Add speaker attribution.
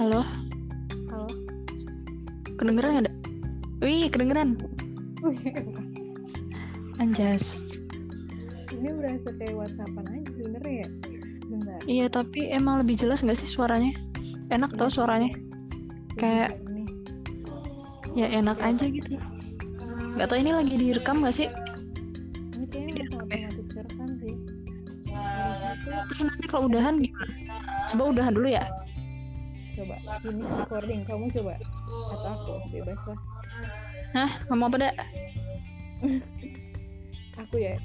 Speaker 1: Halo,
Speaker 2: Halo.
Speaker 1: kedengeran nggak? Da? Wih, kedengeran. Anjas.
Speaker 2: Ini berasa kayak WhatsAppan aja sebenernya ya. Bentar.
Speaker 1: Iya, tapi emang lebih jelas nggak sih suaranya? Enak tau suaranya? Kayak-
Speaker 2: Ini.
Speaker 1: Ya enak aja gitu. Nggak tau ini lagi direkam nggak sih?
Speaker 2: Ini kayaknya bisa otomatis kerekam sih. Satu,
Speaker 1: Terus nanti kalau udahan gimana? Coba udahan dulu ya.
Speaker 2: coba. Ini recording. Kamu coba. Atau aku. Bebas lah.
Speaker 1: Hah, ngomong apa dah?
Speaker 2: Aku ya.